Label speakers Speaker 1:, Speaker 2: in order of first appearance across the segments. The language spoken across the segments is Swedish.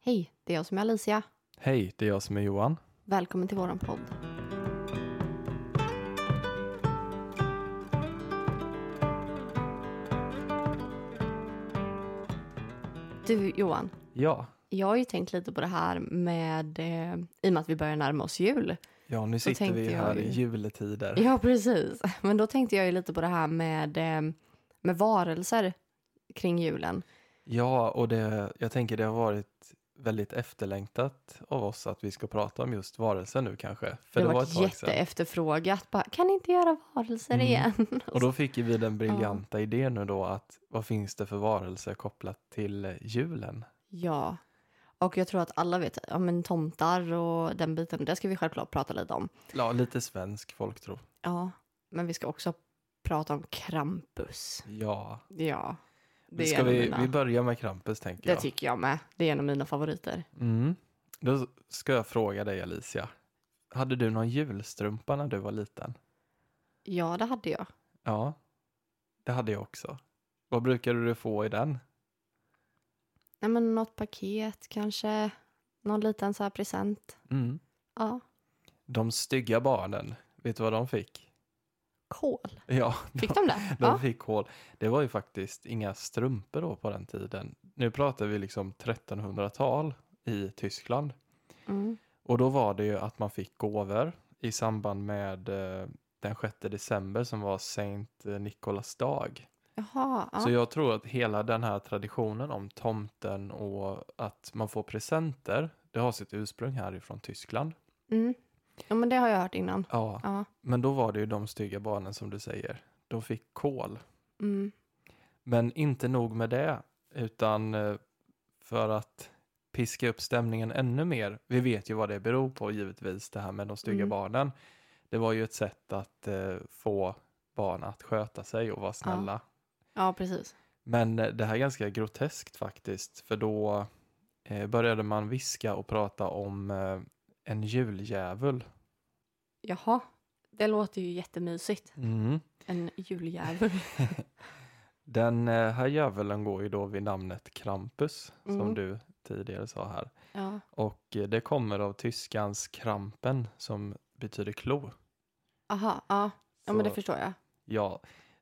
Speaker 1: Hej, det är jag som är Alicia.
Speaker 2: Hej, det är jag som är Johan.
Speaker 1: Välkommen till våran podd. Du Johan,
Speaker 2: Ja,
Speaker 1: jag har ju tänkt lite på det här med, eh, i och med att vi börjar närma oss jul.
Speaker 2: ja nu sitter
Speaker 1: tänkte
Speaker 2: vi
Speaker 1: jag
Speaker 2: här
Speaker 1: ju-
Speaker 2: i juletider.
Speaker 1: Ja, precis. Men då tänkte jag ju lite på det här med, eh, med varelser kring julen.
Speaker 2: Ja, och det, jag tänker det har varit väldigt efterlängtat av oss att vi ska prata om just varelser nu kanske. För
Speaker 1: det
Speaker 2: det
Speaker 1: har
Speaker 2: var
Speaker 1: varit
Speaker 2: ett tag sedan.
Speaker 1: jätteefterfrågat. Bara, kan ni inte göra varelser
Speaker 2: Mm.
Speaker 1: igen?
Speaker 2: Och då fick ju vi den briljanta idén nu då att vad finns det för varelser kopplat till eh, julen?
Speaker 1: Ja, och jag tror att alla vet, ja men tomtar och den biten, det ska vi självklart prata lite om.
Speaker 2: Ja, lite svensk folktro.
Speaker 1: Ja, men vi ska också prata om Krampus.
Speaker 2: Ja,
Speaker 1: Ja,
Speaker 2: det
Speaker 1: det är
Speaker 2: ska
Speaker 1: en av
Speaker 2: vi,
Speaker 1: mina,
Speaker 2: vi börjar med Krampus tänker
Speaker 1: det
Speaker 2: jag.
Speaker 1: tycker jag med. Det är en av mina favoriter.
Speaker 2: Mm. Då ska jag fråga dig Alicia. Hade du någon julstrumpa när du var liten?
Speaker 1: Ja, det hade jag.
Speaker 2: Ja, det hade jag också. Vad brukade du få i den?
Speaker 1: Nej men något paket kanske, någon liten så här present. Ja,
Speaker 2: De stygga barnen, vet du vad de fick?
Speaker 1: kol.
Speaker 2: Ja, de,
Speaker 1: Fick de det?
Speaker 2: de
Speaker 1: Ja,
Speaker 2: fick hål. Det var ju faktiskt inga strumpor då på den tiden. Nu pratar vi liksom 1300-tal i Tyskland.
Speaker 1: mm.
Speaker 2: Och då var det ju att man fick gåvor i samband med eh, den 6 december som var Sankt Nikolas dag.
Speaker 1: Jaha,
Speaker 2: Så
Speaker 1: ja.
Speaker 2: jag tror att hela den här traditionen om tomten och att man får presenter, det har sitt ursprung härifrån Tyskland.
Speaker 1: Mm. ja, men det har jag hört innan.
Speaker 2: Ja,
Speaker 1: Ja,
Speaker 2: men då var det ju de stygga barnen som du säger. De fick kol.
Speaker 1: mm.
Speaker 2: Men inte nog med det, utan eh, för att piska upp stämningen ännu mer. Vi vet ju vad det beror på givetvis, det här med de stygga
Speaker 1: Mm.
Speaker 2: barnen. Det var ju ett sätt att eh, få barn att sköta sig och vara snälla.
Speaker 1: ja precis.
Speaker 2: Men eh, det här är ganska groteskt faktiskt, för då eh, började man viska och prata om eh, en juldjävul.
Speaker 1: Jaha, det låter ju jättemysigt. En juljävel.
Speaker 2: Den eh, här djävulen går ju då vid namnet Krampus,
Speaker 1: Mm.
Speaker 2: som du tidigare sa här.
Speaker 1: ja.
Speaker 2: Och eh, det kommer av tyskans krampen som betyder klo.
Speaker 1: Aha, ja. ja men det
Speaker 2: Så,
Speaker 1: förstår jag.
Speaker 2: Ja,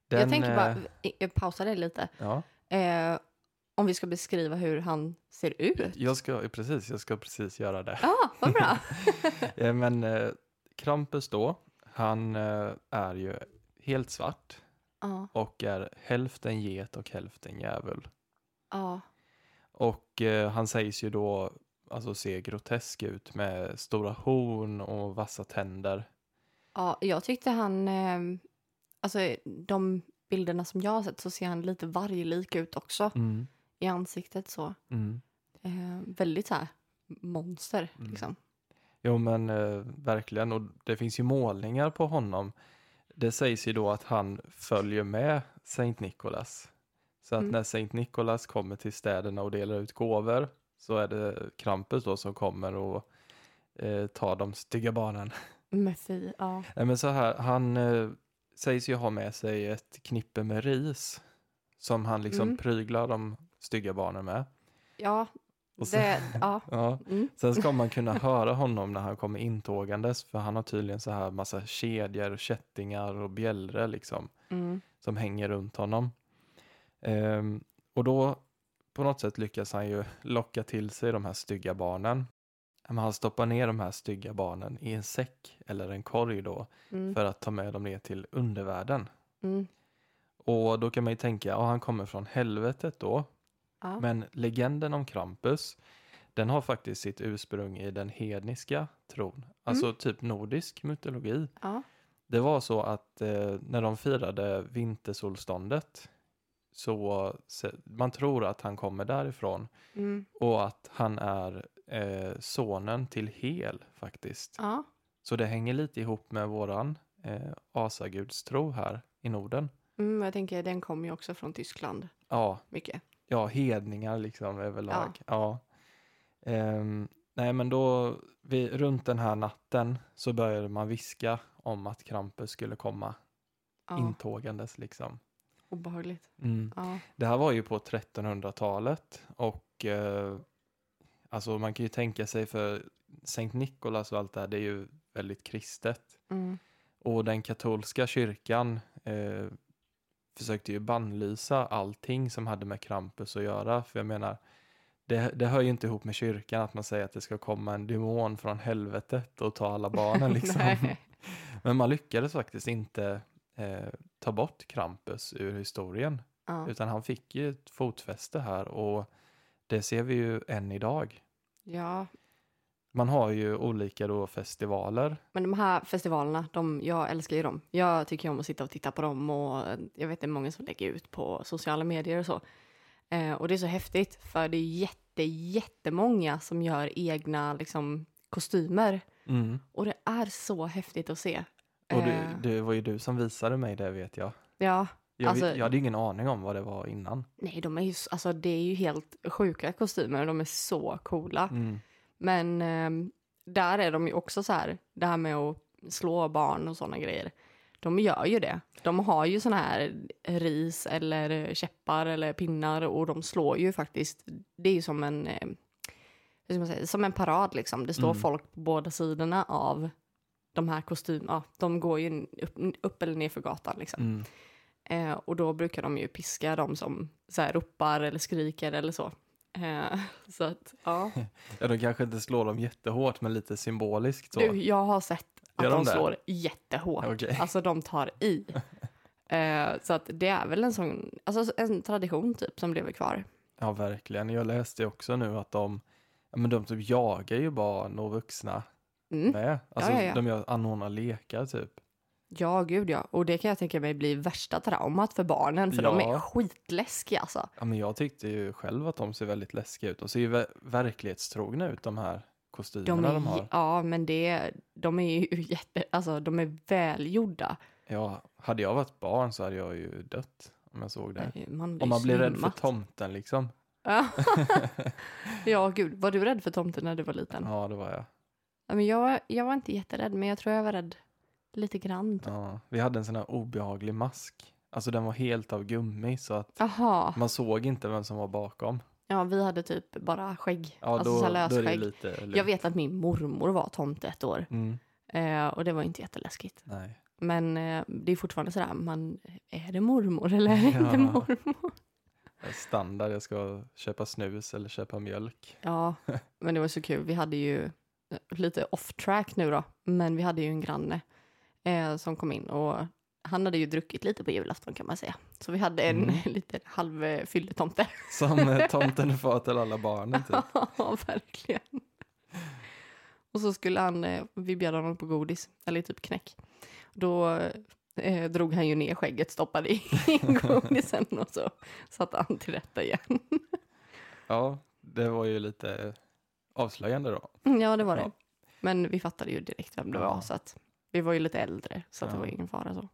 Speaker 2: den,
Speaker 1: jag tänker bara,
Speaker 2: eh,
Speaker 1: i- jag pausar dig lite.
Speaker 2: Ja,
Speaker 1: Eh, om vi ska beskriva hur han ser ut.
Speaker 2: jag ska, eh, precis, jag ska precis göra det.
Speaker 1: Ja, vad bra.
Speaker 2: Eh, Men eh, Krampus då, han eh, är ju helt svart.
Speaker 1: Ja,
Speaker 2: och är hälften get och hälften djävul.
Speaker 1: ja,
Speaker 2: Och eh, han sägs ju då alltså, se grotesk ut med stora horn och vassa tänder.
Speaker 1: ja. Jag tyckte han, eh, alltså de bilderna som jag har sett så ser han lite varglik ut också
Speaker 2: Mm.
Speaker 1: i ansiktet så. Eh, väldigt så här monster
Speaker 2: Mm.
Speaker 1: liksom.
Speaker 2: Jo men eh, verkligen, och det finns ju målningar på honom. Det sägs ju då att han följer med Sankt Nikolas. Så att
Speaker 1: Mm.
Speaker 2: när Sankt Nikolas kommer till städerna och delar ut gåvor så är det Krampus då som kommer och eh, tar de stygga barnen.
Speaker 1: Men fy, ja.
Speaker 2: Nej, men så här, han eh, sägs ju ha med sig ett knippe med ris som han liksom
Speaker 1: Mm.
Speaker 2: pryglar de stygga barnen med.
Speaker 1: Ja,
Speaker 2: Och sen-
Speaker 1: det, ja.
Speaker 2: Ja.
Speaker 1: Mm.
Speaker 2: Sen ska man kunna höra honom när han kommer intågandes för han har tydligen så här massa kedjor och kättingar och bjällror liksom
Speaker 1: Mm.
Speaker 2: som hänger runt honom. Ehm, och då på något sätt lyckas han ju locka till sig de här stygga barnen. Men han stoppar ner de här stygga barnen i en säck eller en korg då
Speaker 1: Mm.
Speaker 2: för att ta med dem ner till undervärlden.
Speaker 1: Mm.
Speaker 2: Och då kan man ju tänka, ja han kommer från helvetet då.
Speaker 1: Ja.
Speaker 2: Men legenden om Krampus, den har faktiskt sitt ursprung i den hedniska tron. Alltså
Speaker 1: Mm.
Speaker 2: typ nordisk mytologi.
Speaker 1: Ja.
Speaker 2: Det var så att eh, när de firade vintersolståndet så se- man tror att han kommer därifrån
Speaker 1: Mm.
Speaker 2: och att han är eh, sonen till Hel faktiskt.
Speaker 1: Ja.
Speaker 2: Så det hänger lite ihop med våran eh, asagudstro här i Norden.
Speaker 1: Mm, jag tänker den kom ju också från Tyskland
Speaker 2: Ja,
Speaker 1: mycket.
Speaker 2: ja, hedningar liksom överlag. Ja. Ehm, nej, men då vi, runt den här natten så började man viska om att Krampus skulle komma
Speaker 1: Ja,
Speaker 2: intågandes liksom.
Speaker 1: obehagligt.
Speaker 2: Mm.
Speaker 1: Ja.
Speaker 2: Det här var ju på 1300-talet och eh, Alltså man kan ju tänka sig för Sankt Nikolas och allt det här, det är ju väldigt kristet.
Speaker 1: Mm.
Speaker 2: Och den katolska kyrkan eh, försökte ju bannlysa allting som hade med Krampus att göra. För jag menar, det, det hör ju inte ihop med kyrkan att man säger att det ska komma en demon från helvetet och ta alla barnen. liksom.
Speaker 1: Nej.
Speaker 2: Men man lyckades faktiskt inte eh, ta bort Krampus ur historien.
Speaker 1: Ja,
Speaker 2: Utan han fick ju ett fotfäste här och det ser vi ju än idag.
Speaker 1: ja.
Speaker 2: Man har ju olika då festivaler
Speaker 1: Men de här festivalerna, de, jag älskar ju dem. Jag tycker ju om att sitta och titta på dem och eh, jag vet det är många som lägger ut på sociala medier och så. Eh, och det är så häftigt för det är jätte, jättemånga som gör egna liksom, kostymer. Och det är så häftigt att se.
Speaker 2: Och
Speaker 1: Eh,
Speaker 2: det, det var ju du som visade mig det vet jag.
Speaker 1: Ja,
Speaker 2: Jag,
Speaker 1: Alltså-
Speaker 2: vet- jag hade ingen aning om vad det var innan.
Speaker 1: nej de är ju, s- alltså det är ju helt sjuka kostymer och de är så coola.
Speaker 2: Mm,
Speaker 1: Men ehm, där är de ju också så här, det här med att slå barn och sådana grejer. De gör ju det. De har ju såna här ris eller käppar eller pinnar och de slår ju faktiskt. Det är ju som en, eh, hur ska man säga, som en parad liksom. Det står
Speaker 2: Mm.
Speaker 1: folk på båda sidorna av de här kostymerna. Ja, de går ju upp, upp eller ner för gatan liksom.
Speaker 2: Mm.
Speaker 1: Eh, och då brukar de ju piska de som så här, ropar eller skriker eller så. Eh, så att, ja.
Speaker 2: Ja, de kanske inte slår dem jättehårt men lite symboliskt så.
Speaker 1: Du, jag har sett att
Speaker 2: Gör
Speaker 1: de
Speaker 2: de det?
Speaker 1: slår jättehårt.
Speaker 2: Okej.
Speaker 1: Alltså de tar i. Eh, så att det är väl en sån, alltså en tradition typ som lever kvar.
Speaker 2: Ja, verkligen. Jag läste också nu att de, ja, men de typ jagar ju barn och vuxna
Speaker 1: Mm.
Speaker 2: med. Alltså,
Speaker 1: ja, ja.
Speaker 2: De gör, anordnar lekar typ.
Speaker 1: Ja, gud ja. Och det kan jag tänka mig blir värsta traumat för barnen för de
Speaker 2: Ja.
Speaker 1: är skitläskiga alltså.
Speaker 2: Ja, men jag tyckte ju själv att de ser väldigt läskiga ut. De ser ju ver- verklighetstrogna ut de här
Speaker 1: De
Speaker 2: kostymerna
Speaker 1: är,
Speaker 2: de, har.
Speaker 1: ja, men det, de är ju jätte, alltså de är välgjorda.
Speaker 2: Ja, hade jag varit barn så hade jag ju dött om jag såg det.
Speaker 1: Eh, Man blir,
Speaker 2: Om man blir rädd för
Speaker 1: svimmat.
Speaker 2: tomten liksom.
Speaker 1: ja, gud. Var du rädd för tomten när du var liten?
Speaker 2: Ja, det var jag.
Speaker 1: Ja, men jag, jag var inte jätterädd, men jag tror jag var rädd lite grann. typ.
Speaker 2: Ja, vi hade en sån här obehaglig mask. Alltså den var helt av gummi så att
Speaker 1: Jaha.
Speaker 2: man såg inte vem som var bakom.
Speaker 1: Ja, vi hade typ bara skägg.
Speaker 2: Ja,
Speaker 1: alltså så
Speaker 2: då,
Speaker 1: här
Speaker 2: då är det
Speaker 1: lösskägg.
Speaker 2: lite... lugnt.
Speaker 1: Jag vet att min mormor var tomte ett år
Speaker 2: Mm,
Speaker 1: eh, och det var inte jätteläskigt.
Speaker 2: nej.
Speaker 1: Men eh, det är fortfarande sådär, man, eh, är det mormor eller är det
Speaker 2: Ja.
Speaker 1: inte mormor?
Speaker 2: Standard, jag ska köpa snus eller köpa mjölk.
Speaker 1: Ja, men det var så kul. Vi hade ju eh, lite off track nu då, men vi hade ju en granne eh, som kom in och han hade ju druckit lite på julafton kan man säga. Så vi hade en
Speaker 2: Mm.
Speaker 1: liten halv eh, fylletomte.
Speaker 2: Som eh, tomten är far till alla barnen typ.
Speaker 1: Ja, verkligen. Och så skulle han, eh, vi bjöd honom på godis, eller typ knäck. Då eh, drog han ju ner skägget, stoppade i godisen och så satte han till rätta igen.
Speaker 2: Ja, det var ju lite avslöjande då.
Speaker 1: Ja, det var det.
Speaker 2: Ja.
Speaker 1: Men vi fattade ju direkt vem det var,
Speaker 2: Ja.
Speaker 1: så att vi var ju lite äldre, så att det
Speaker 2: Ja.
Speaker 1: var ingen fara så.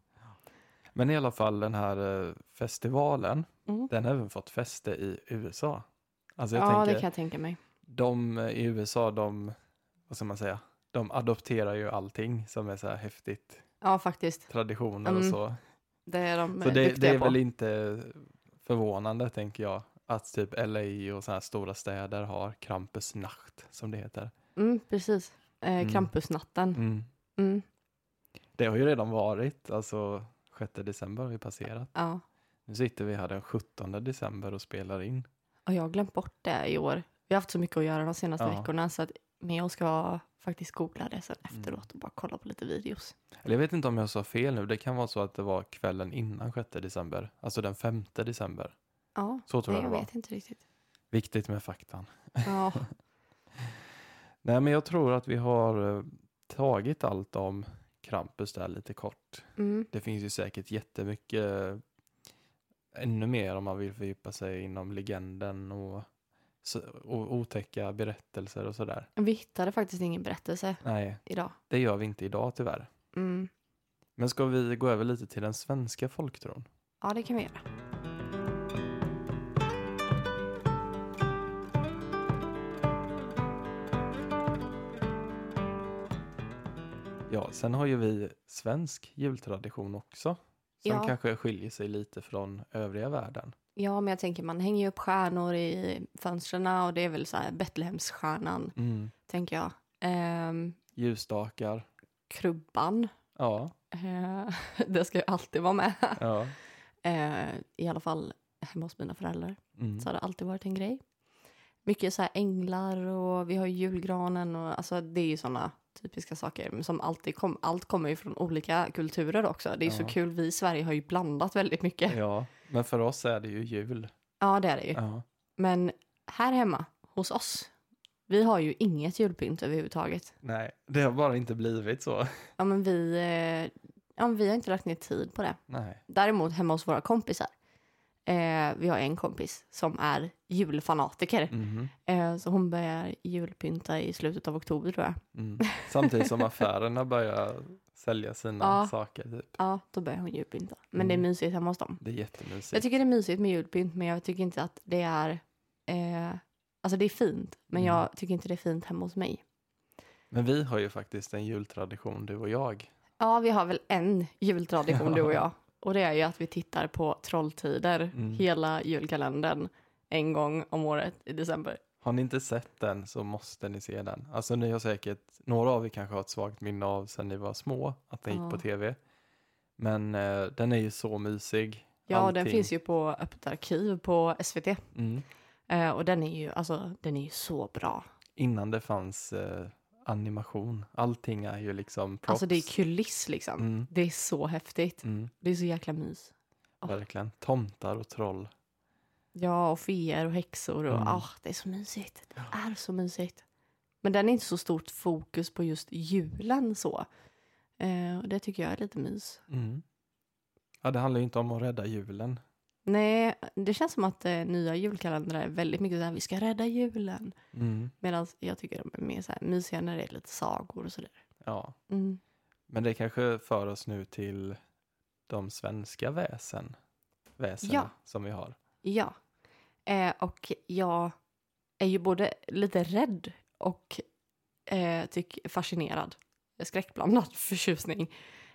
Speaker 2: Men i alla fall den här eh, festivalen,
Speaker 1: Mm.
Speaker 2: den har även fått fäste i USA. Alltså jag
Speaker 1: Ja,
Speaker 2: tänker,
Speaker 1: det kan jag tänka mig.
Speaker 2: de eh, i USA, de, vad ska man säga, de adopterar ju allting som är så här häftigt.
Speaker 1: Ja, faktiskt.
Speaker 2: traditioner och
Speaker 1: Mm,
Speaker 2: så.
Speaker 1: Det är de
Speaker 2: Så
Speaker 1: eh,
Speaker 2: det, det
Speaker 1: duktiga
Speaker 2: är
Speaker 1: på.
Speaker 2: väl inte förvånande, tänker jag, att typ LA och sådana här stora städer har Krampusnacht, som det heter.
Speaker 1: Mm, precis. Eh,
Speaker 2: Mm.
Speaker 1: Krampusnatten.
Speaker 2: Mm.
Speaker 1: Mm,
Speaker 2: Det har ju redan varit, alltså 6 december har vi passerat.
Speaker 1: ja.
Speaker 2: Nu sitter vi här den 17 december och spelar in.
Speaker 1: Och jag har glömt bort det i år. Vi har haft så mycket att göra de senaste
Speaker 2: Ja. Mm.
Speaker 1: veckorna. Så att, men jag ska faktiskt googla det sen efteråt och bara kolla på lite videos.
Speaker 2: Eller jag vet inte om jag sa fel nu, det kan vara så att det var kvällen innan 6 december, alltså den 5 december.
Speaker 1: Ja,
Speaker 2: Så tror
Speaker 1: nej, jag
Speaker 2: jag det var.
Speaker 1: vet inte riktigt.
Speaker 2: Viktigt med faktan.
Speaker 1: Ja,
Speaker 2: Nej, men jag tror att vi har eh, tagit allt om Krampus där lite kort.
Speaker 1: mm,
Speaker 2: Det finns ju säkert jättemycket eh, ännu mer om man vill fördjupa sig inom legenden och, så- och otäcka berättelser och sådär.
Speaker 1: vi hittade faktiskt ingen berättelse
Speaker 2: Nej,
Speaker 1: idag.
Speaker 2: det gör vi inte idag tyvärr.
Speaker 1: Mm,
Speaker 2: Men ska vi gå över lite till den svenska folktron?
Speaker 1: ja, det kan vi göra.
Speaker 2: Ja, sen har ju vi svensk jultradition också som
Speaker 1: Ja.
Speaker 2: kanske skiljer sig lite från övriga världen.
Speaker 1: Ja, men jag tänker man hänger ju upp stjärnor i fönstren och det är väl så här Betlehemsstjärnan,
Speaker 2: Mm.
Speaker 1: tänker jag. Ehm,
Speaker 2: Ljusstakar.
Speaker 1: krubban,
Speaker 2: Ja,
Speaker 1: eh, det ska ju alltid vara med.
Speaker 2: ja.
Speaker 1: Eh, I alla fall hemma hos mina föräldrar
Speaker 2: Mm.
Speaker 1: så har det alltid varit en grej. Mycket så här änglar och vi har ju julgranen och alltså det är ju sådana typiska saker men som alltid kom, allt kommer ju från olika kulturer också. Det är ju så
Speaker 2: Ja.
Speaker 1: kul, vi i Sverige har ju blandat väldigt mycket. Ja,
Speaker 2: ja. Men för oss är det ju jul.
Speaker 1: det är det ju.
Speaker 2: Ja.
Speaker 1: Men här hemma hos oss, vi har ju inget julpynt överhuvudtaget.
Speaker 2: Nej, det har bara inte blivit så.
Speaker 1: Ja men vi, eh, ja, men vi har inte lagt ner tid på det.
Speaker 2: Nej.
Speaker 1: Däremot hemma hos våra kompisar. Eh, vi har en kompis som är julfanatiker.
Speaker 2: Mhm.
Speaker 1: Eh, så hon börjar julpynta i slutet av oktober tror jag.
Speaker 2: Mm. Samtidigt som affärerna börjar sälja sina
Speaker 1: Ja.
Speaker 2: saker. Typ.
Speaker 1: Ja, då börjar hon julpynta. Men
Speaker 2: Mm.
Speaker 1: det är mysigt hemma hos dem.
Speaker 2: Det är jättemysigt.
Speaker 1: Jag tycker det är mysigt med julpynt men jag tycker inte att det är... Eh, alltså det är fint men
Speaker 2: Mm.
Speaker 1: jag tycker inte det är fint hemma hos mig.
Speaker 2: Men vi har ju faktiskt en jultradition, du och jag.
Speaker 1: Ja, vi har väl en jultradition
Speaker 2: Ja.
Speaker 1: du och jag. Och det är ju att vi tittar på Trolltider
Speaker 2: Mm.
Speaker 1: hela julkalendern en gång om året i december.
Speaker 2: Har ni inte sett den så måste ni se den. Alltså ni har säkert, några av er kanske har ett svagt minne av sen ni var små, att den gick på
Speaker 1: Ja.
Speaker 2: tv. Men eh, den är ju så mysig.
Speaker 1: Ja, den
Speaker 2: Allting.
Speaker 1: finns ju på Öppet arkiv på SVT.
Speaker 2: Mm.
Speaker 1: Eh, och den är ju, alltså, den är ju så bra.
Speaker 2: Innan det fanns eh, animation. Allting är ju liksom props.
Speaker 1: Alltså det är kuliss liksom.
Speaker 2: Mm.
Speaker 1: Det är så häftigt.
Speaker 2: Mm,
Speaker 1: Det är så jäkla mys. Åh.
Speaker 2: verkligen. Tomtar och troll.
Speaker 1: Ja, och feer och häxor och
Speaker 2: Mm.
Speaker 1: ah, det är så mysigt. Det är så mysigt. Men den är inte så stort fokus på just julen så. Eh, och det tycker jag är lite mys.
Speaker 2: Mm. Ja, det handlar ju inte om att rädda julen.
Speaker 1: Nej, det känns som att eh, nya julkalendrar är väldigt mycket så här, vi ska rädda julen.
Speaker 2: Mm.
Speaker 1: Medan jag tycker de är mer så här mysiga när det är lite sagor och sådär.
Speaker 2: Ja,
Speaker 1: Mm.
Speaker 2: men det kanske för oss nu till de svenska väsen. Väsen
Speaker 1: Ja.
Speaker 2: som vi har.
Speaker 1: Ja. Eh, och jag är ju både lite rädd och eh, tyck fascinerad, skräckblandad förtjusning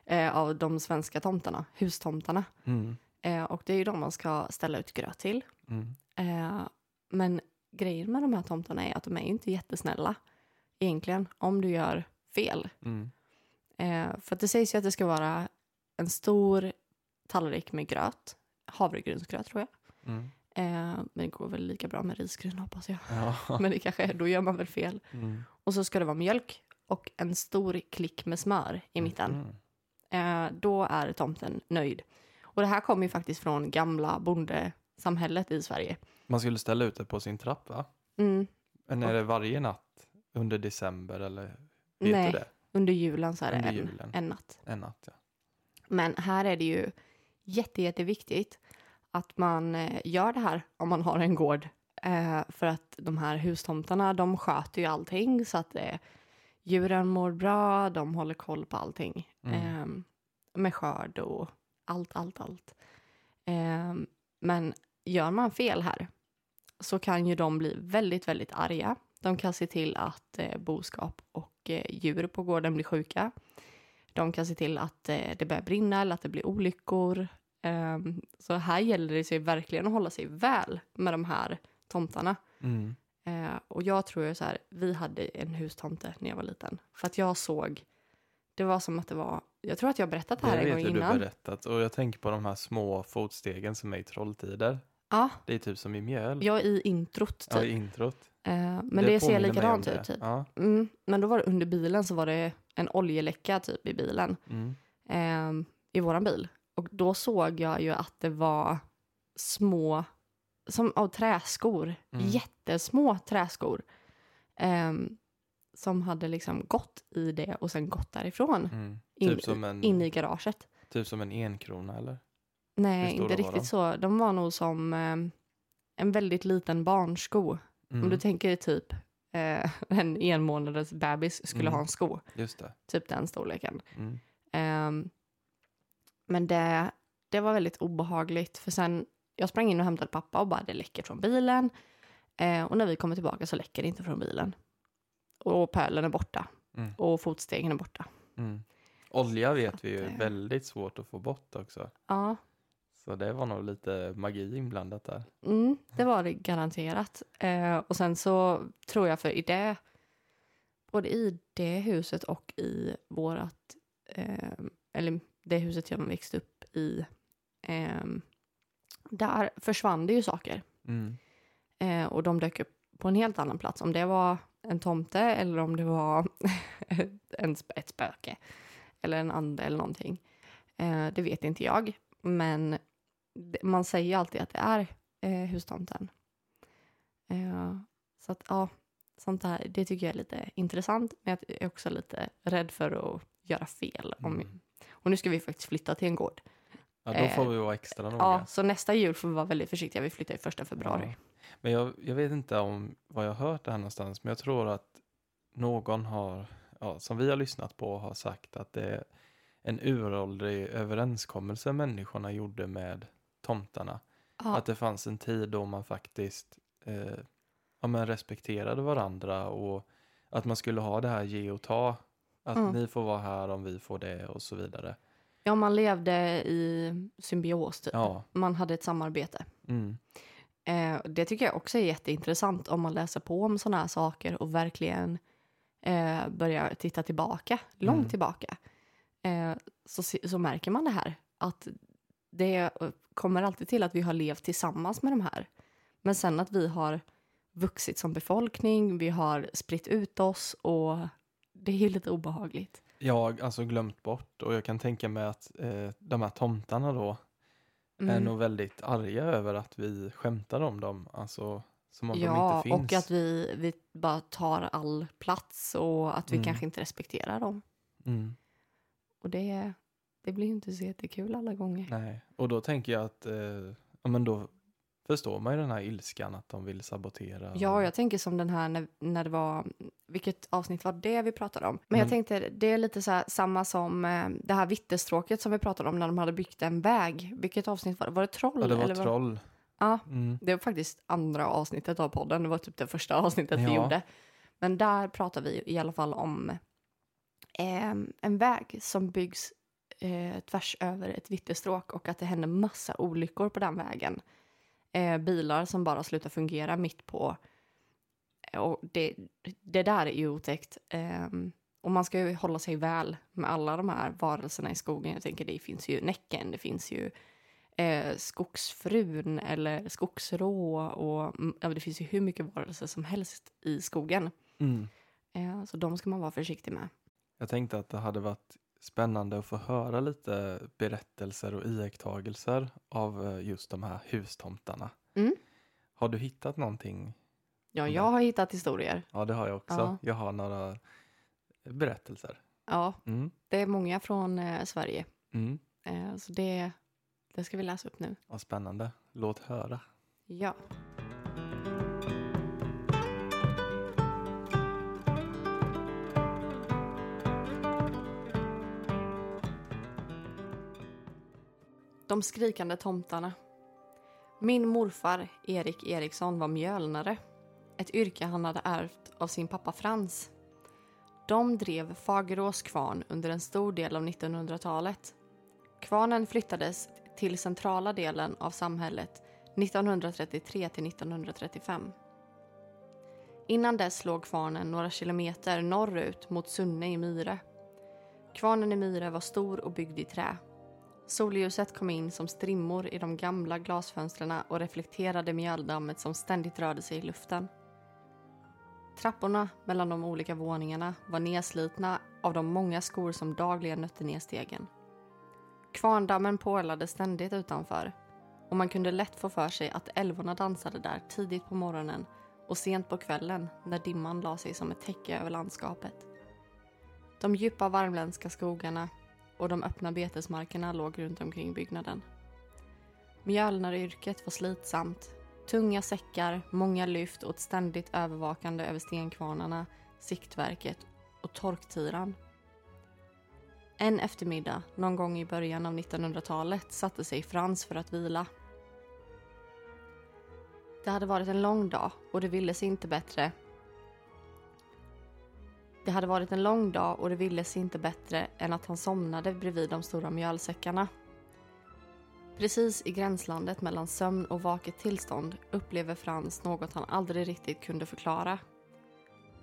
Speaker 1: eh, av de svenska tomtarna, hustomtarna.
Speaker 2: Mm.
Speaker 1: Eh, och det är ju de man ska ställa ut gröt till.
Speaker 2: Mm.
Speaker 1: Eh, men grejen med de här tomtarna är att de är ju inte jättesnälla egentligen om du gör fel.
Speaker 2: Mm.
Speaker 1: Eh, för att det sägs ju att det ska vara en stor tallrik med gröt, havregrynsgröt tror jag.
Speaker 2: Mm.
Speaker 1: Eh, men det går väl lika bra med risgryn hoppas jag.
Speaker 2: Ja.
Speaker 1: Men det kanske är, då gör man väl fel.
Speaker 2: Mm.
Speaker 1: Och så ska det vara mjölk och en stor klick med smör i mitten.
Speaker 2: Mm.
Speaker 1: Eh, då är tomten nöjd. Och det här kommer ju faktiskt från gamla bondesamhället i Sverige.
Speaker 2: Man skulle ställa ut det på sin trapp, va?
Speaker 1: Mm.
Speaker 2: Men är det varje natt under december eller vet
Speaker 1: Nej,
Speaker 2: du det?
Speaker 1: under julen så är det
Speaker 2: Under
Speaker 1: en,
Speaker 2: julen.
Speaker 1: en natt.
Speaker 2: En natt, ja.
Speaker 1: Men här är det ju jätte, jätteviktigt att man eh, gör det här om man har en gård. Eh, för att de här hustomtarna, de sköter ju allting så att eh, djuren mår bra, de håller koll på allting.
Speaker 2: Mm.
Speaker 1: Eh, med skörd och allt, allt, allt. Eh, men gör man fel här så kan ju de bli väldigt, väldigt arga. De kan se till att eh, boskap och eh, djur på gården blir sjuka. De kan se till att eh, det börjar brinna eller att det blir olyckor. Ehm, så här gäller det sig verkligen att hålla sig väl med de här tomtarna.
Speaker 2: Mm.
Speaker 1: Eh, och jag tror ju så här, vi hade en hustomte när jag var liten. För att jag såg, det var som att det var, jag tror att jag har berättat det här
Speaker 2: Det
Speaker 1: en
Speaker 2: vet
Speaker 1: gång
Speaker 2: ju du
Speaker 1: innan.
Speaker 2: berättat. Och jag tänker på de här små fotstegen som är i Trolltider.
Speaker 1: Ja,
Speaker 2: Det är typ som i mjöl.
Speaker 1: jag i introt typ.
Speaker 2: Ja, i introt.
Speaker 1: Eh, men det, ser
Speaker 2: påminner mig om
Speaker 1: likadant
Speaker 2: det.
Speaker 1: ut typ.
Speaker 2: Ja.
Speaker 1: Mm, men då var det under bilen så var det en oljeläcka typ i bilen.
Speaker 2: Mm.
Speaker 1: ehm, i våran bil. Och då såg jag ju att det var små, som av träskor,
Speaker 2: Mm.
Speaker 1: jättesmå träskor. ehm, som hade liksom gått i det och sen gått därifrån.
Speaker 2: Mm.
Speaker 1: In,
Speaker 2: Typ, som en,
Speaker 1: in i garaget.
Speaker 2: typ som en enkrona eller?
Speaker 1: Nej,
Speaker 2: Hur stora
Speaker 1: inte
Speaker 2: var
Speaker 1: riktigt
Speaker 2: de?
Speaker 1: så. De var nog som ehm, en väldigt liten barnsko.
Speaker 2: Mm.
Speaker 1: Om du tänker dig typ eh, en enmånaders bebis skulle
Speaker 2: Mm.
Speaker 1: ha en sko.
Speaker 2: Just det.
Speaker 1: Typ den storleken.
Speaker 2: Mm.
Speaker 1: Ehm, men det, det var väldigt obehagligt för sen jag sprang in och hämtade pappa och bara det läcker från bilen. Eh, och när vi kommer tillbaka så läcker det inte från bilen. Och pölen är borta
Speaker 2: Mm.
Speaker 1: och fotstegen är borta.
Speaker 2: Mm. Olja
Speaker 1: att,
Speaker 2: vet vi ju är
Speaker 1: eh,
Speaker 2: väldigt svårt att få bort också.
Speaker 1: Ja,
Speaker 2: Så det var nog lite magi inblandat där.
Speaker 1: Mm, det var det garanterat. Eh, och sen så tror jag för i det, både i det huset och i vårat, eh, eller det huset jag växte upp i, eh, där försvann det ju saker.
Speaker 2: Mm.
Speaker 1: Eh, och de dök upp på en helt annan plats. Om det var en tomte eller om det var en, sp- ett spöke eller en ande eller någonting. Eh, det vet inte jag. Men det- man säger ju alltid att det är eh, hustomten. Eh, så att ja, sånt där, det tycker jag är lite intressant. Men jag är också lite rädd för att göra fel. Om,
Speaker 2: Mm.
Speaker 1: Och nu ska vi faktiskt flytta till en gård.
Speaker 2: Ja, då får
Speaker 1: Eh,
Speaker 2: vi vara extra noga.
Speaker 1: Ja, så nästa jul får vi vara väldigt försiktiga. Vi flyttar i första februari.
Speaker 2: Ja. Men jag, jag vet inte om vad jag har hört det här någonstans, men jag tror att någon har, ja, som vi har lyssnat på, har sagt att det är en uråldrig överenskommelse människorna gjorde med tomtarna.
Speaker 1: Ja.
Speaker 2: Att det fanns en tid då man faktiskt eh, ja, men respekterade varandra och att man skulle ha det här ge och ta. Att
Speaker 1: Mm.
Speaker 2: ni får vara här om vi får det och så vidare.
Speaker 1: Ja, man levde i symbios. Typ.
Speaker 2: Ja,
Speaker 1: Man hade ett samarbete.
Speaker 2: mm,
Speaker 1: Eh, det tycker jag också är jätteintressant om man läser på om sådana här saker och verkligen eh, börjar titta tillbaka, långt
Speaker 2: Mm.
Speaker 1: tillbaka. Eh, så, se- så märker man det här. Att det eh, kommer alltid till att vi har levt tillsammans med de här. Men sen att vi har vuxit som befolkning, vi har spritt ut oss och det är ju lite obehagligt.
Speaker 2: jag har alltså glömt bort och jag kan tänka mig att eh, de här tomtarna då är
Speaker 1: Mm.
Speaker 2: nog väldigt arga över att vi skämtar om dem. Alltså som om de
Speaker 1: Ja,
Speaker 2: inte finns.
Speaker 1: och att vi, vi bara tar all plats och att vi
Speaker 2: Mm.
Speaker 1: kanske inte respekterar dem.
Speaker 2: mm,
Speaker 1: Och det, det blir ju inte så jättekul alla gånger.
Speaker 2: nej. Och då tänker jag att eh, ja, men då förstår man ju den här ilskan att de vill sabotera.
Speaker 1: Ja,
Speaker 2: och-
Speaker 1: jag tänker som den här när, när det var, vilket avsnitt var det vi pratade om? Men jag
Speaker 2: Mm.
Speaker 1: tänkte, det är lite så här, samma som eh, det här vittestråket som vi pratade om när de hade byggt en väg. Vilket avsnitt var det? Var det troll?
Speaker 2: ja, det var
Speaker 1: eller vad-
Speaker 2: troll.
Speaker 1: Ja,
Speaker 2: Mm.
Speaker 1: Det var faktiskt andra avsnittet av podden. Det var typ det första avsnittet vi
Speaker 2: Ja.
Speaker 1: gjorde. Men där pratar vi i alla fall om ehm, en väg som byggs eh, tvärs över ett vittestråk och att det händer massa olyckor på den vägen. Eh, bilar som bara slutar fungera mitt på. Och det, det där är ju otäckt. Ehm, och man ska ju hålla sig väl med alla de här varelserna i skogen. Jag tänker det finns ju Näcken, det finns ju eh, skogsfrun eller skogsrå och mm, ja, det finns ju hur mycket varelser som helst i skogen.
Speaker 2: Mm.
Speaker 1: Eh, så de ska man vara försiktig med.
Speaker 2: Jag tänkte att det hade varit spännande att få höra lite berättelser och iakttagelser av eh, just de här hustomtarna.
Speaker 1: Mm.
Speaker 2: Har du hittat någonting?
Speaker 1: Ja,
Speaker 2: Mm.
Speaker 1: jag har hittat historier.
Speaker 2: Ja, det har jag också.
Speaker 1: Ja.
Speaker 2: Jag har några berättelser.
Speaker 1: Ja,
Speaker 2: Mm.
Speaker 1: det är många från eh, Sverige.
Speaker 2: Mm.
Speaker 1: Eh, så det, det ska vi läsa upp nu.
Speaker 2: Vad spännande. Låt höra.
Speaker 1: Ja. De skrikande tomtarna. Min morfar Erik Eriksson var mjölnare. Ett yrke han hade ärvt av sin pappa Frans. De drev Fagerås kvarn under en stor del av 1900-talet. Kvarnen flyttades till centrala delen av samhället 1933 till 1935. Innan dess låg kvarnen några kilometer norrut mot Sunne i Myre. Kvarnen i Myre var stor och byggd i trä. Solljuset kom in som strimmor i de gamla glasfönstren och reflekterade mjöldammet som ständigt rörde sig i luften. Trapporna mellan de olika våningarna var nedslitna av de många skor som dagligen nötte ner stegen. Kvarndammen pålade ständigt utanför och man kunde lätt få för sig att älvorna dansade där tidigt på morgonen och sent på kvällen när dimman la sig som ett täcke över landskapet. De djupa värmländska skogarna och de öppna betesmarkerna låg runt omkring byggnaden. Mjölnaryrket var slitsamt. Tunga säckar, många lyft och ett ständigt övervakande över stenkvarnarna, siktverket och torktiran. En eftermiddag, någon gång i början av 1900-talet, satte sig Frans för att vila. Det hade varit en lång dag och det ville sig inte bättre. Det hade varit en lång dag och det ville sig inte bättre än att han somnade bredvid de stora mjölsäckarna. Precis i gränslandet mellan sömn och vaket tillstånd upplever Frans något han aldrig riktigt kunde förklara.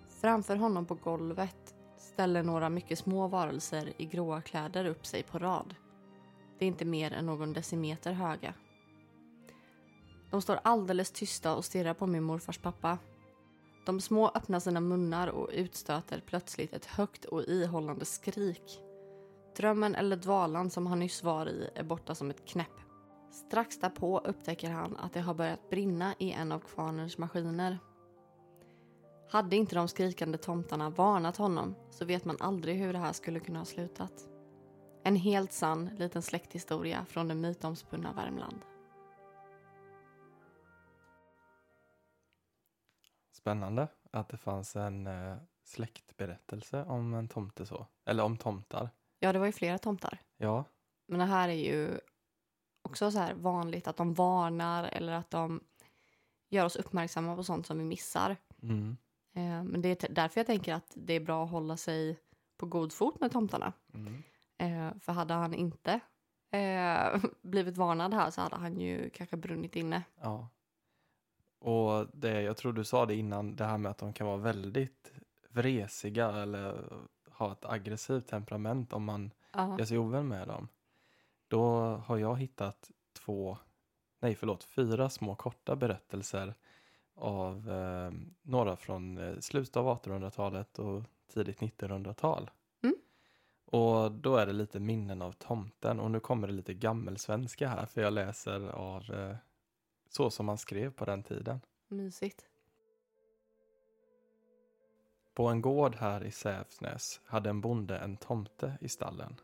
Speaker 1: Framför honom på golvet ställer några mycket små varelser i gråa kläder upp sig på rad. Det är inte mer än någon decimeter höga. De står alldeles tysta och stirrar på min morfars pappa. De små öppnar sina munnar och utstöter plötsligt ett högt och ihållande skrik. Drömmen eller dvalan som han nyss var i är borta som ett knäpp. Strax därpå upptäcker han att det har börjat brinna i en av kvarnens maskiner. Hade inte de skrikande tomtarna varnat honom så vet man aldrig hur det här skulle kunna ha slutat. En helt sann liten släkthistoria från det mytomspunna Värmland.
Speaker 2: Spännande att det fanns en eh, släktberättelse om en tomte så. Eller om tomtar.
Speaker 1: Ja, det var ju flera tomtar.
Speaker 2: Ja,
Speaker 1: Men det här är ju också så här vanligt att de varnar eller att de gör oss uppmärksamma på sånt som vi missar.
Speaker 2: mm.
Speaker 1: Eh, Men det är t- därför jag tänker att det är bra att hålla sig på god fot med tomtarna.
Speaker 2: Mm.
Speaker 1: Eh, För hade han inte eh, blivit varnad här så hade han ju kanske brunnit inne.
Speaker 2: ja. Och det, jag tror du sa det innan, det här med att de kan vara väldigt vresiga eller ha ett aggressivt temperament om man
Speaker 1: Ja.
Speaker 2: gör sig ovän med dem. Då har jag hittat två, nej förlåt, fyra små korta berättelser av eh, några från eh, slutet av 1800-talet och tidigt 1900-tal.
Speaker 1: Mm.
Speaker 2: Och då är det lite minnen av tomten och nu kommer det lite gammelsvenska här för jag läser av eh, så som man skrev på den tiden.
Speaker 1: Mysigt.
Speaker 2: På en gård här i Sävsnäs hade en bonde en tomte i stallen.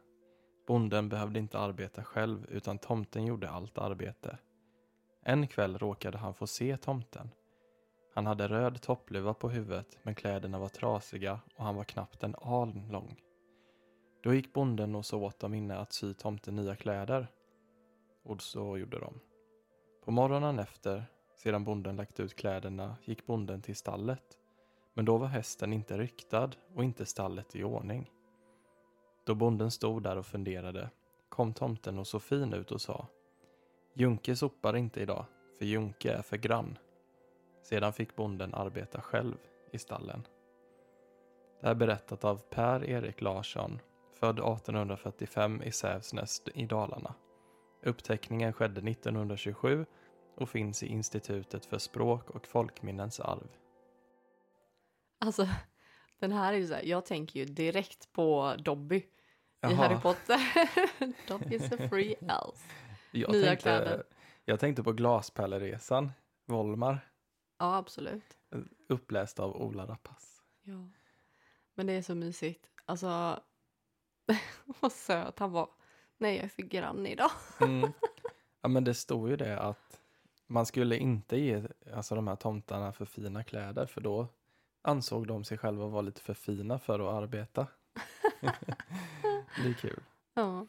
Speaker 2: Bonden behövde inte arbeta själv utan tomten gjorde allt arbete. En kväll råkade han få se tomten. Han hade röd toppluva på huvudet men kläderna var trasiga och han var knappt en aln lång. Då gick bonden och så åt dem inne att sy tomten nya kläder. Och så gjorde de. På morgonen efter, sedan bonden lagt ut kläderna, gick bonden till stallet men då var hästen inte ryktad och inte stallet i ordning. Då bonden stod där och funderade kom tomten och såg fin ut och sa Junke sopar inte idag, för Junke är för grann. Sedan fick bonden arbeta själv i stallen. Det här är berättat av Per-Erik Larsson, född 1845 i Sävsnäs i Dalarna. Uppteckningen skedde 1927 och finns i Institutet för språk och folkminnens arv.
Speaker 1: Alltså, den här är ju så här, jag tänker ju direkt på Dobby i Harry Potter. Dobby's a free elf.
Speaker 2: Jag
Speaker 1: Nya
Speaker 2: tänkte,
Speaker 1: kläder.
Speaker 2: Jag tänkte på Glaspärleresan, Volmar,
Speaker 1: Ja, absolut.
Speaker 2: uppläst av Ola Rapace.
Speaker 1: Ja. Men det är så mysigt. Alltså, vad söt han var. Nej, jag är för grann idag. Mm.
Speaker 2: Ja, men det stod ju det att man skulle inte ge alltså, de här tomtarna för fina kläder för då ansåg de sig själva vara lite för fina för att arbeta. det är kul.
Speaker 1: Ja.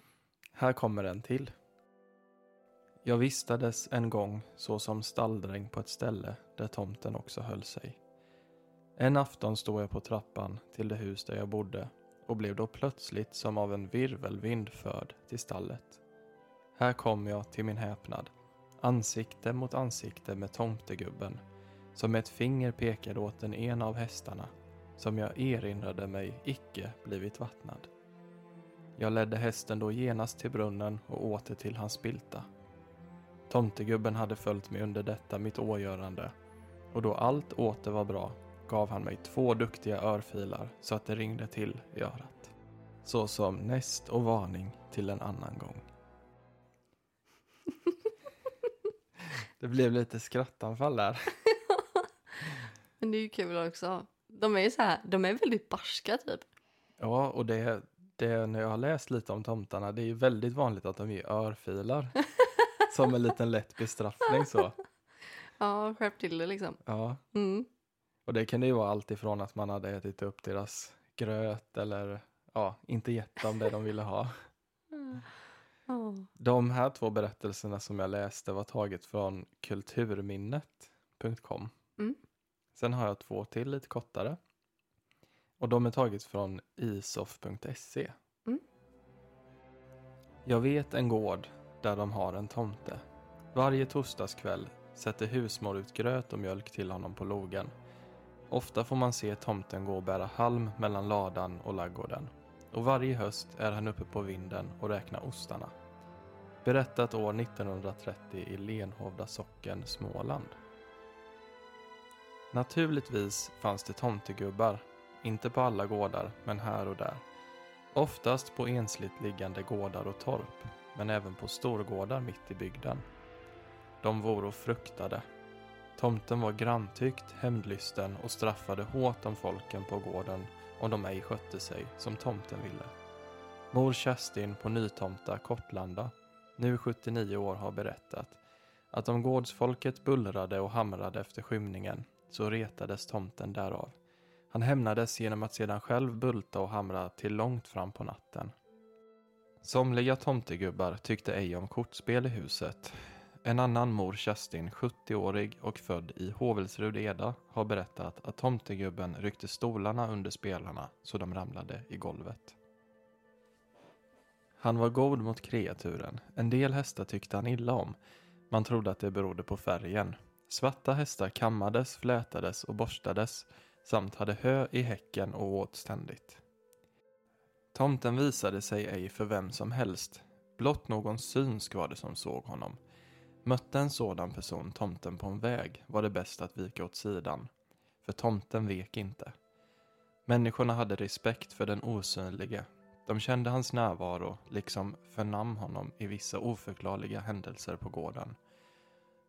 Speaker 2: Här kommer en till. Jag vistades en gång så som stalldräng på ett ställe där tomten också höll sig. En afton stod jag på trappan till det hus där jag bodde och blev då plötsligt som av en virvelvind förd till stallet. Här kom jag till min häpnad, ansikte mot ansikte med tomtegubben som med ett finger pekade åt den ena av hästarna som jag erinrade mig icke blivit vattnad. Jag ledde hästen då genast till brunnen och åter till hans spilta. Tomtegubben hade följt mig under detta mitt ågörande och då allt åter var bra gav han mig två duktiga örfilar så att det ringde till i örat. Så som näst och varning till en annan gång. Det blev lite skrattanfall där.
Speaker 1: Men det är ju kul också. De är ju så här, de är väldigt barska typ.
Speaker 2: Ja, och det, det när jag har läst lite om tomtarna, det är ju väldigt vanligt att de ger örfilar som en liten lätt bestraffning så.
Speaker 1: Ja, skärp till det liksom.
Speaker 2: Ja,
Speaker 1: Mm.
Speaker 2: och det kan det ju vara allt ifrån att man hade ätit upp deras gröt eller ja, inte gett dem det de ville ha.
Speaker 1: Ja.
Speaker 2: De här två berättelserna som jag läste var taget från kulturminnet.com.
Speaker 1: Mm.
Speaker 2: Sen har jag två till lite kortare. Och de är taget från isof.se.
Speaker 1: Mm.
Speaker 2: Jag vet en gård där de har en tomte. Varje torsdagskväll sätter husmor ut gröt och mjölk till honom på logen. Ofta får man se tomten gå och bära halm mellan ladan och laggården. Och varje höst är han uppe på vinden och räknar ostarna. Berättat år 1930 i Lenhovda socken, Småland. Naturligtvis fanns det tomtegubbar, inte på alla gårdar, men här och där. Oftast på ensligt liggande gårdar och torp, men även på storgårdar mitt i bygden. De voro fruktade. Tomten var granntyckt, hämndlysten och straffade hårt om folken på gården om de ej skötte sig som tomten ville. Mor Kerstin på Nytomta, Kortlanda, nu 79 år, har berättat att om gårdsfolket bullrade och hamrade efter skymningen så retades tomten därav. Han hämnades genom att sedan själv bulta och hamra till långt fram på natten. Somliga tomtegubbar tyckte ej om kortspel i huset. En annan mor, Kerstin, 70-årig och född i Hovelsrud Eda, har berättat att tomtegubben ryckte stolarna under spelarna så de ramlade i golvet. Han var god mot kreaturen. En del hästar tyckte han illa om. Man trodde att det berodde på färgen. Svarta hästar kammades, flätades och borstades samt hade hö i häcken och åt ständigt. Tomten visade sig ej för vem som helst. Blott någon synsk var det som såg honom. Mötte en sådan person tomten på en väg var det bäst att vika åt sidan, för tomten vek inte. Människorna hade respekt för den osynlige. De kände hans närvaro, liksom förnam honom i vissa oförklarliga händelser på gården.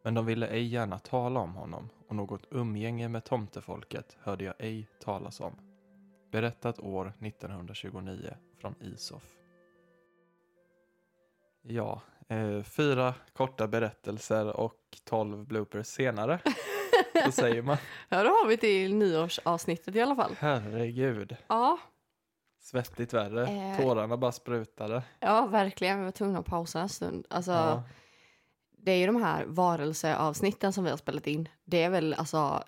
Speaker 2: Men de ville ej gärna tala om honom och något umgänge med tomtefolket hörde jag ej talas om. Berättat år 1929 från Isof. Ja, eh, fyra korta berättelser och tolv bloopers senare. Så säger man.
Speaker 1: Ja, då har vi till nyårsavsnittet i alla fall.
Speaker 2: Herregud,
Speaker 1: Ja,
Speaker 2: svettigt värre.
Speaker 1: Eh. alltså,
Speaker 2: Tårarna bara sprutade.
Speaker 1: ja verkligen. Vi var tvungna att pausa en stund. Alltså,
Speaker 2: Ja.
Speaker 1: Det är ju de här varelseavsnitten som vi har spelat in. Det är väl alltså,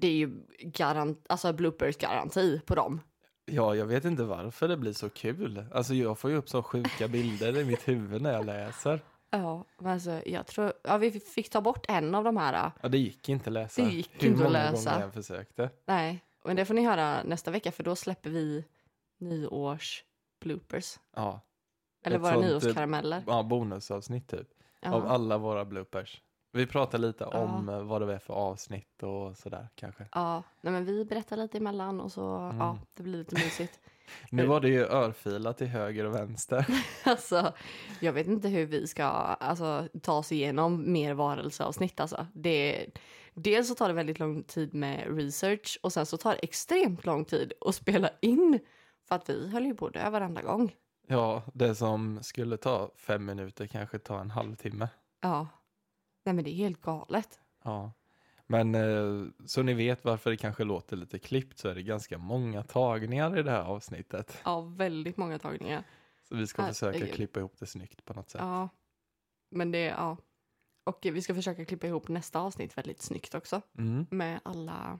Speaker 1: det är ju garant, alltså bloopers-garanti på dem.
Speaker 2: ja, jag vet inte varför det blir så kul. Alltså jag får ju upp så sjuka bilder i mitt huvud när jag läser.
Speaker 1: Ja, men alltså jag tror, ja vi fick ta bort en av de här. äh.
Speaker 2: Ja, det gick inte att läsa.
Speaker 1: Det gick
Speaker 2: Hur
Speaker 1: inte att
Speaker 2: många
Speaker 1: läsa.
Speaker 2: gånger jag försökte.
Speaker 1: Nej, men det får ni höra nästa vecka för då släpper vi nyårs-bloopers.
Speaker 2: Ja,
Speaker 1: Eller
Speaker 2: Ett
Speaker 1: våra
Speaker 2: sånt, eh,
Speaker 1: nyårskarameller.
Speaker 2: ja bonusavsnitt typ. Av
Speaker 1: Ja.
Speaker 2: alla våra bloopers. Vi pratar lite
Speaker 1: Ja.
Speaker 2: om eh, vad det var för avsnitt och sådär kanske.
Speaker 1: Ja, nej, men vi berättar lite emellan och så,
Speaker 2: Mm.
Speaker 1: ja, det blir lite mysigt. Eh.
Speaker 2: Nu var det ju örfilat till höger och vänster.
Speaker 1: alltså, jag vet inte hur vi ska alltså, ta oss igenom mer varelseavsnitt. Alltså. Det, dels så tar det väldigt lång tid med research och sen så tar det extremt lång tid att spela in. För att vi höll ju på att dö varenda gång.
Speaker 2: Ja, det som skulle ta fem minuter kanske tar en halvtimme.
Speaker 1: Ja. Nej men det är helt galet.
Speaker 2: Ja. Men eh, så ni vet varför det kanske låter lite klippt så är det ganska många tagningar i det här avsnittet.
Speaker 1: Ja, väldigt många tagningar.
Speaker 2: Så vi ska försöka
Speaker 1: Herregud.
Speaker 2: klippa ihop det snyggt på något sätt.
Speaker 1: Ja. Men det, ja. Och vi ska försöka klippa ihop nästa avsnitt väldigt snyggt också.
Speaker 2: Mm,
Speaker 1: Med alla,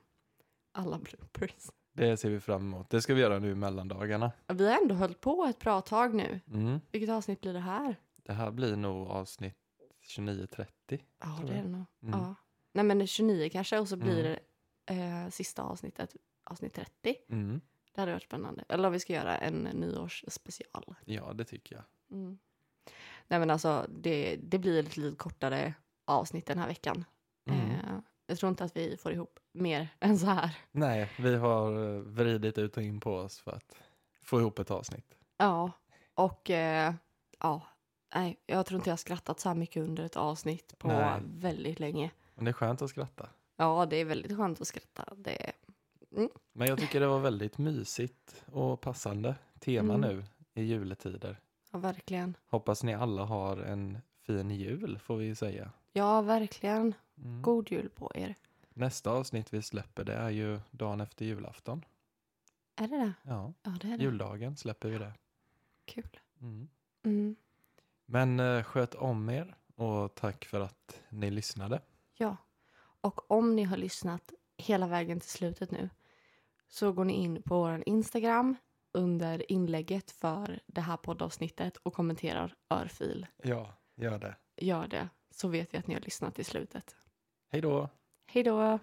Speaker 1: alla bloopers.
Speaker 2: det ser vi fram emot. Det ska vi göra nu i mellandagarna.
Speaker 1: Vi har ändå hållit på ett bra tag nu.
Speaker 2: Mm.
Speaker 1: Vilket avsnitt blir det här?
Speaker 2: Det här blir nog avsnitt 29-30.
Speaker 1: Ja,
Speaker 2: Tror
Speaker 1: det är
Speaker 2: jag.
Speaker 1: det nog.
Speaker 2: Mm.
Speaker 1: Ja. Nej, men 29 kanske och så blir
Speaker 2: Mm.
Speaker 1: det eh, sista avsnittet, avsnitt 30.
Speaker 2: Mm.
Speaker 1: Det hade varit spännande. Eller om vi ska göra en nyårsspecial.
Speaker 2: Ja, det tycker jag.
Speaker 1: Mm. Nej, men alltså det, det blir ett lite kortare avsnitt den här veckan.
Speaker 2: Mm.
Speaker 1: Eh, jag tror inte att vi får ihop mer än så här.
Speaker 2: Nej, vi har eh, vridit ut och in på oss för att få ihop ett avsnitt.
Speaker 1: Ja, och eh, ja. Nej, jag tror inte jag har skrattat så här mycket under ett avsnitt på
Speaker 2: Nej.
Speaker 1: väldigt länge.
Speaker 2: Men det är skönt att skratta.
Speaker 1: Ja, det är väldigt skönt att skratta. Det,
Speaker 2: Men jag tycker det var väldigt mysigt och passande tema
Speaker 1: Mm.
Speaker 2: nu i juletider.
Speaker 1: ja, verkligen.
Speaker 2: Hoppas ni alla har en fin jul får vi ju säga.
Speaker 1: Ja, verkligen.
Speaker 2: Mm.
Speaker 1: God jul på er.
Speaker 2: Nästa avsnitt vi släpper det är ju dagen efter julafton.
Speaker 1: Är det det?
Speaker 2: Ja,
Speaker 1: Ja, det är det.
Speaker 2: juldagen släpper vi det.
Speaker 1: Kul.
Speaker 2: Mm.
Speaker 1: Mm.
Speaker 2: Men eh, sköt om er och tack för att ni lyssnade.
Speaker 1: Ja. Och om ni har lyssnat hela vägen till slutet nu så går ni in på vår Instagram under inlägget för det här poddavsnittet och kommenterar örfil.
Speaker 2: Ja, Gör det.
Speaker 1: Gör det, så vet vi att ni har lyssnat till slutet.
Speaker 2: Hej då!
Speaker 1: Hej då!